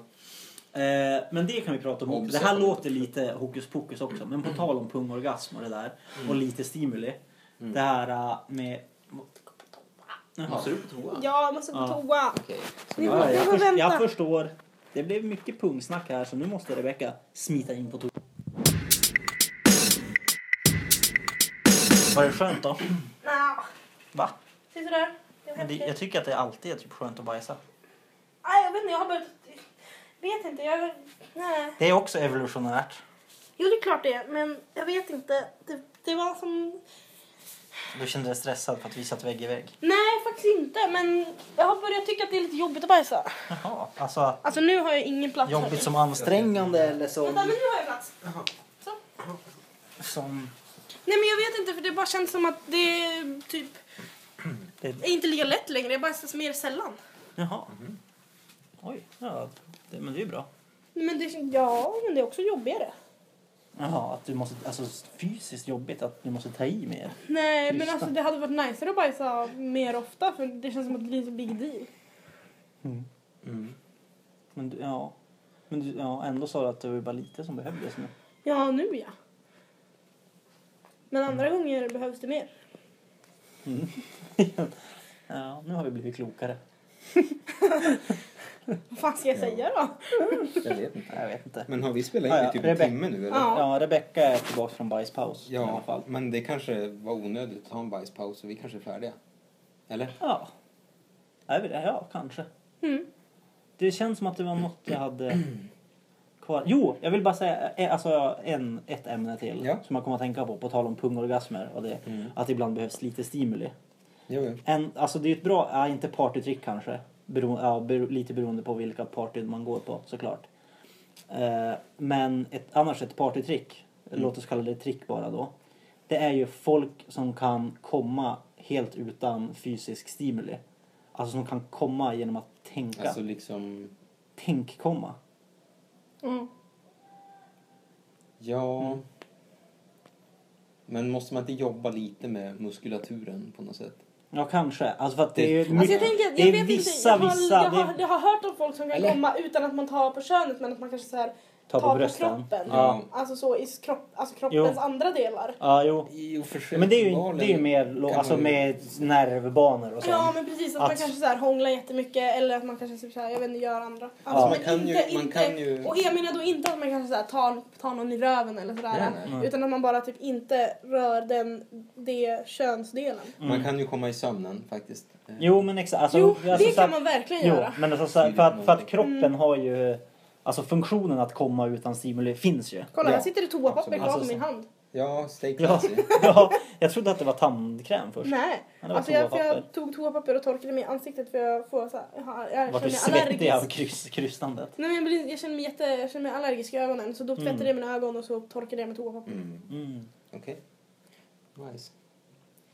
Eh, men det kan vi prata om. Obs, det här jag kommer låter lite hokus pokus också. Men på tal om pungorgasm och det där. Och lite stimuli. Mm. Det här eh, med... Jaha. Måste du på toa? Ja, jag måste gå på Ja. toa. Okej. så Nu då- Ja, måste jag, jag först, jag vänta. förstår. Det blev mycket pungsnack här så nu måste Rebecca smita in på toa. Var det skönt då? Nja, Va? se sådär. Jag, Men det, jag tycker att det alltid är typ skönt att bajsa. Nej, Ah, jag vet inte, jag har börjat... Vet inte, jag... Nej. Det är också evolutionärt. Jo, det är klart det är, men jag vet inte. Det, det var som... Du kände dig stressad för att vi satt vägg i vägg. Nej, faktiskt inte, men jag har börjat tycka att det är lite jobbigt att bajsa. Jaha. Alltså att Alltså nu har jag ingen plats. här. jobbigt som ansträngande eller Vänta, som... men nu har jag plats. Så. som Nej, men jag vet inte, för det bara känns som att det är typ... det, är inte lika lätt längre, jag bajsas mer sällan. jaha. Oj. Ja, det, men det är ju bra. Men det, ja, men det är också jobbigare. Jaha, att du måste... Alltså fysiskt jobbigt att du måste ta i mer. Nej, men Tysta. alltså det hade varit nicer att bajsa mer ofta för det känns som att det blir så big deal. Mm. Men du, ja. Men du, ja, ändå sa du att det var bara lite som behövdes nu. Ja, nu ja. Men andra Mm. gånger behövs det mer. Ja, nu har vi blivit klokare. Vad fan ska jag säga då? Jag vet inte. Nej, Jag vet inte. Men har vi spelat in Ja, i ja, typ Rebecca. en timme nu eller? Ja. Ja, Rebecka är tillbaka från bajspaus i alla Ja, fall. men det kanske var onödigt att ta en bajspaus så vi kanske är färdiga. Eller? Ja. Är vi det? Ja, kanske. Mm. Det känns som att det var något jag hade kvar. Jo, jag vill bara säga eh, alltså, en, ett ämne till Ja. som jag kommer att tänka på, på tal om pungorgasmer och det, Mm. att ibland behövs lite stimuli. Jo, jo. En, alltså det är ett bra, ja, inte partytrick kanske, bero, ja, bero, lite beroende på vilka partyn man går på såklart. Eh, men ett, annars ett partytrick, låt oss kalla det trick bara då. Det är ju folk som kan komma helt utan fysisk stimuli. Alltså som kan komma genom att tänka. Alltså liksom... Tänk komma. Mm. Ja... Men måste man inte jobba lite med muskulaturen på något sätt? Ja kanske. Alltså för att det, Det- är ju Alltså mycket, jag tänker, att- det jag är vet vissa, inte. Jag har, vissa, jag, det är- har, jag har hört om folk som kan Eller? komma utan att man tar på könet men att man kanske så här, ta på tar brösten. kroppen. Ja. Alltså så i kropp, alltså kroppens Jo. andra delar. ja, jo. Jo, Ja, Men det är ju, det är ju mer lo- kan alltså man ju- med nervbanor och sånt. Ja men precis, att, man Att- kanske så här hånglar jättemycket eller att man kanske typ så här, jag vet inte, gör andra. Alltså, Ja. men Man kan ju- inte- man inte- kan ju- Och jag menar då inte att man kanske så här, tar, tar någon i röven eller sådär. Nej, nej. Mm. Utan att man bara typ inte rör den, det könsdelen. Man kan ju komma i sömnen faktiskt. Eh, Mm. Jo men exakt. Alltså, jo, alltså, det så kan att- man verkligen Jo, göra. men alltså, så här, Tidigt för, att, för att någonting. kroppen Mm. har ju... Alltså funktionen att komma utan stimuli finns ju. Kolla, Ja. här sitter det toapapper Absolut. kvar på Alltså, min hand. Ja, stay Ja, classy. ja, jag trodde att det var tandkräm först. Nej. Ja, det var Alltså jag, för jag toapapper. tog toapapper och torkade mig i ansiktet för jag får så här, jag, har- jag Vart du känner mig svettig av allergisk. kryss, krystandet. Nej, men jag, blir, jag, känner mig jätte, jag känner mig allergisk i ögonen så då tvättade Mm. jag mina ögon och så torkade jag med toapapper. Mm. Mm. Okej. Nice.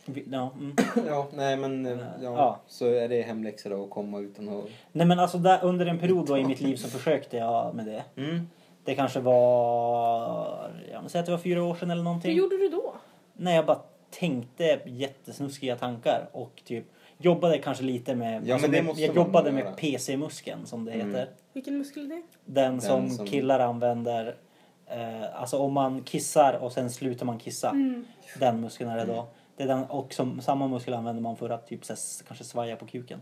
Vi- Ja, mm. Ja, nej men eh, ja, Ja. så är det hemläxa då att komma utan att... Nej men alltså där, under en period då i mitt liv så försökte jag med det. Mm. Det kanske var, ja men säg att det var fyra år sedan eller Hur någonting. gjorde du då? När jag bara tänkte jättesnuskiga tankar och typ jobbade kanske lite med, Ja, men det jag- måste jag man jobbade göra. med PC-muskeln som det Mm. heter. Vilken muskel är det? Den, som, som- killar använder, eh, alltså om man kissar och sen slutar man kissa. Mm. Den muskeln är Mm. det då. Det är den, och som, samma muskel använder man för att typ så här, s- kanske svaja på kuken.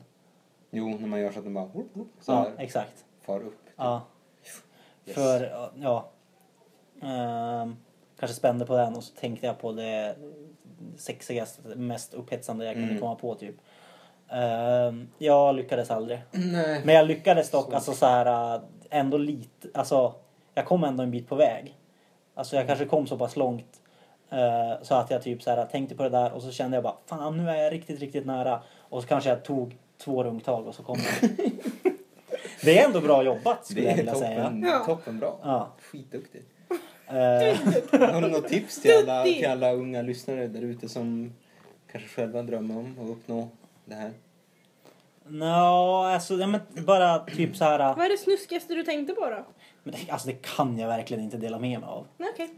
Jo, när man gör så att den bara whoop, whoop, så Ja, här, exakt. far upp. Ja. typ. Yes. För, ja. Ehm, kanske spände på den och så tänkte jag på det sexigaste, mest upphetsande jag kunde Mm. komma på typ. Ehm, jag lyckades aldrig. Nej. Men jag lyckades dock Så. alltså så här äh, ändå lite, alltså jag kom ändå en bit på väg. Alltså Mm. jag kanske kom så pass långt eh, så att jag typ så här tänkte på det där och så kände jag bara fan nu är jag riktigt, riktigt nära. Och så kanske jag tog två rungtag och så kom jag. det är ändå bra jobbat skulle Det jag är vilja säga. toppen, Ja. toppen bra. Ja. Skitduktig. Eh, Har du något tips till alla, Duktig. till alla unga lyssnare där ute som kanske själva drömmer om att uppnå det här? Nja, alltså ja, men bara typ så här. äh, Vad är det snuskigaste du tänkte på då? Men det, alltså det kan jag verkligen inte dela med mig av. Nej, okej.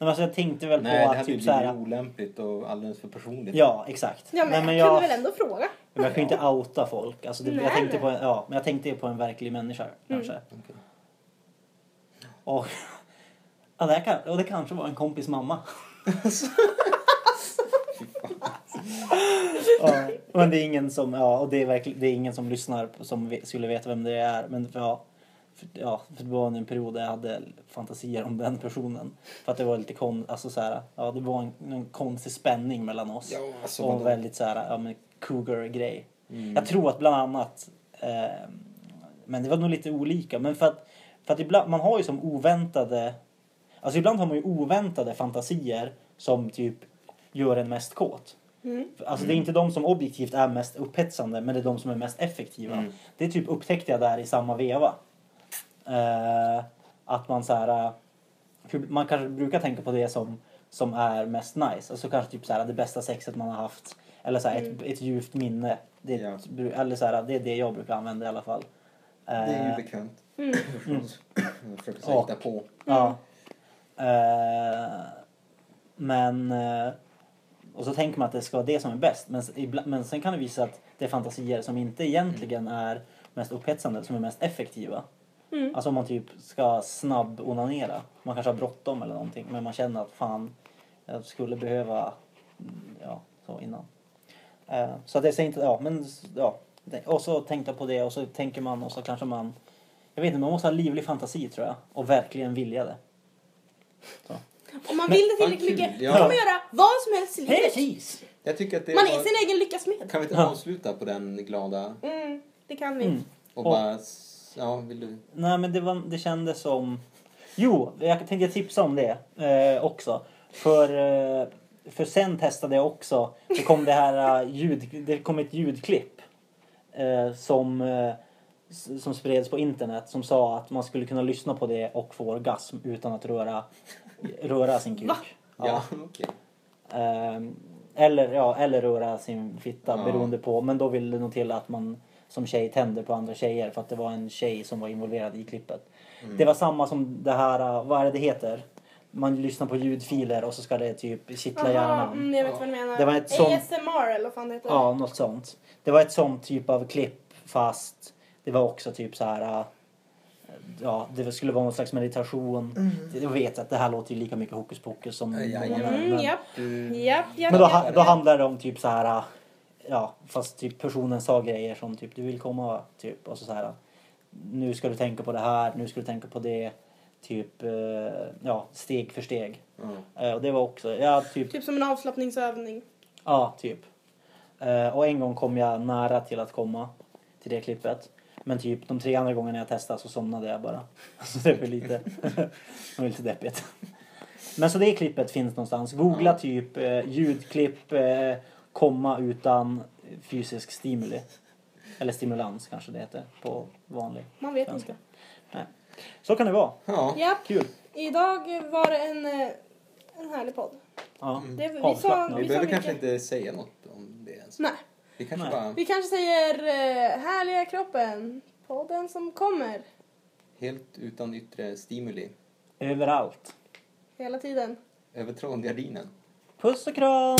Men alltså jag tänkte väl Nej, det på hade att ju typ blivit så här. olämpligt och alldeles för personligt. Ja, exakt. Ja, men, Nej, men jag kunde jag- väl ändå fråga. Men jag kan ju inte outa folk. Alltså det, Nej, jag, tänkte nej. på en, ja, men jag tänkte på en verklig människa kanske. Okej. Och, ja, det här kan, och det kanske var en kompis mamma. ja, men det är ingen som, ja, och det är, verkligen, det är ingen som lyssnar på- som ve- skulle veta vem det är. Men för, ja, för, ja, för det var en period där jag hade fantasier om den personen. För att det var lite kon, alltså så här, ja, det var en, en konstig spänning mellan oss. Ja, alltså och en vadå? väldigt så här, ja men cougar-grej. Mm. Jag tror att bland annat, eh, men det var nog lite olika, men för att, för att ibland, man har ju som oväntade, alltså ibland har man ju oväntade fantasier som typ gör en mest kåt. Mm. Alltså det är inte de som objektivt är mest upphetsande men det är de som är mest effektiva. Mm. Det typ upptäckte jag där i samma veva. Eh, att man så här, eh, för man kanske brukar tänka på det som, som är mest nice. Alltså kanske typ så här, det bästa sexet man har haft. Eller så här, ett, Mm. ett djupt minne. Det, är ett- Eller så här, det är det jag brukar använda i alla fall. Eh, Det är ju bekvämt. Mm. förstås. Jag försöker så Och- hitta på. Ja. Eh, men... eh, och så tänker man att det ska vara det som är bäst. Men, s- ibla- men sen kan det visa att det är fantasier som inte egentligen är mest upphetsande, som är mest effektiva. Mm. Alltså om man typ ska snabb-onanera. Man kanske har bråttom eller någonting, men man känner att fan, jag skulle behöva... mm, Ja, så innan. Eh, så att jag säger inte... Ja, men... s- Ja. Det- Och så tänkte jag på det och så tänker man och så kanske man... Jag vet inte, man måste ha livlig fantasi tror jag. Och verkligen vilja det. Om man vill det fan tillräckligt kul, mycket ja. kan man göra vad som helst i livet. Precis! Jag tycker att det Man var- är sin egen lyckas med. Kan vi inte Ja. avsluta på den glada Mm, det kan vi. Mm. och Och- bara... s- Ja, vill du? Nej men det, var, det kändes som... Jo, jag tänkte tipsa om det eh, också. För, eh, för sen testade jag också, det kom det här eh, ljud, det kom ett ljudklipp eh, som, eh, s- som spreds på internet som sa att man skulle kunna lyssna på det och få orgasm utan att röra, röra sin kuk. Va? Ja, okej. Ehm, eller, ja, eller röra sin fitta Ja. beroende på. Men då vill det nog till att man som tjej tänder på andra tjejer för att det var en tjej som var involverad i klippet. Mm. Det var samma som det här, uh, vad är det det heter? Man lyssnar på ljudfiler och så ska det typ kittla hjärnan. mm, jag vet vad du menar. Det var ett sånt- ASMR eller vad fan det heter. Ja, något sånt. Det var ett sånt typ av klipp fast det var också typ så här... äh, Ja, det skulle vara någon slags meditation. Jag vet att det här låter ju lika mycket hokus pokus som... Mm. Ja, ja, ja. Mm, men- japp, Du- japp, japp, Men då, japp, ha- då japp. handlar det om typ så här... äh, Ja, fast typ personen sa grejer som typ du vill komma typ och så, så här. Nu ska du tänka på det här, nu ska du tänka på det. Typ, eh, ja, steg för steg. Ja. Eh, Och det var också, ja typ Typ som en avslappningsövning. Ja, typ. Eh, och en gång kom jag nära till att komma till det klippet. Men typ de tre andra gångerna jag testade så somnade jag bara. Så det var lite, det var lite deppigt. Men så det klippet finns någonstans. Googla typ eh, ljudklipp eh, komma utan fysisk stimuli. Eller stimulans kanske det heter på vanlig Man vet svenska. inte. Nej. Så kan det vara. Ja. Japp, Kul. idag var det en, eh, en härlig podd. Ja. Det, vi sa, Avslappnad. vi Vi sa behöver mycket. kanske inte säga något om det ens. Nej, Vi kanske Nej. bara vi kanske säger eh, härliga kroppen. Podden som kommer helt utan yttre stimuli Överallt. hela tiden. över trondgardinen. Puss och kram!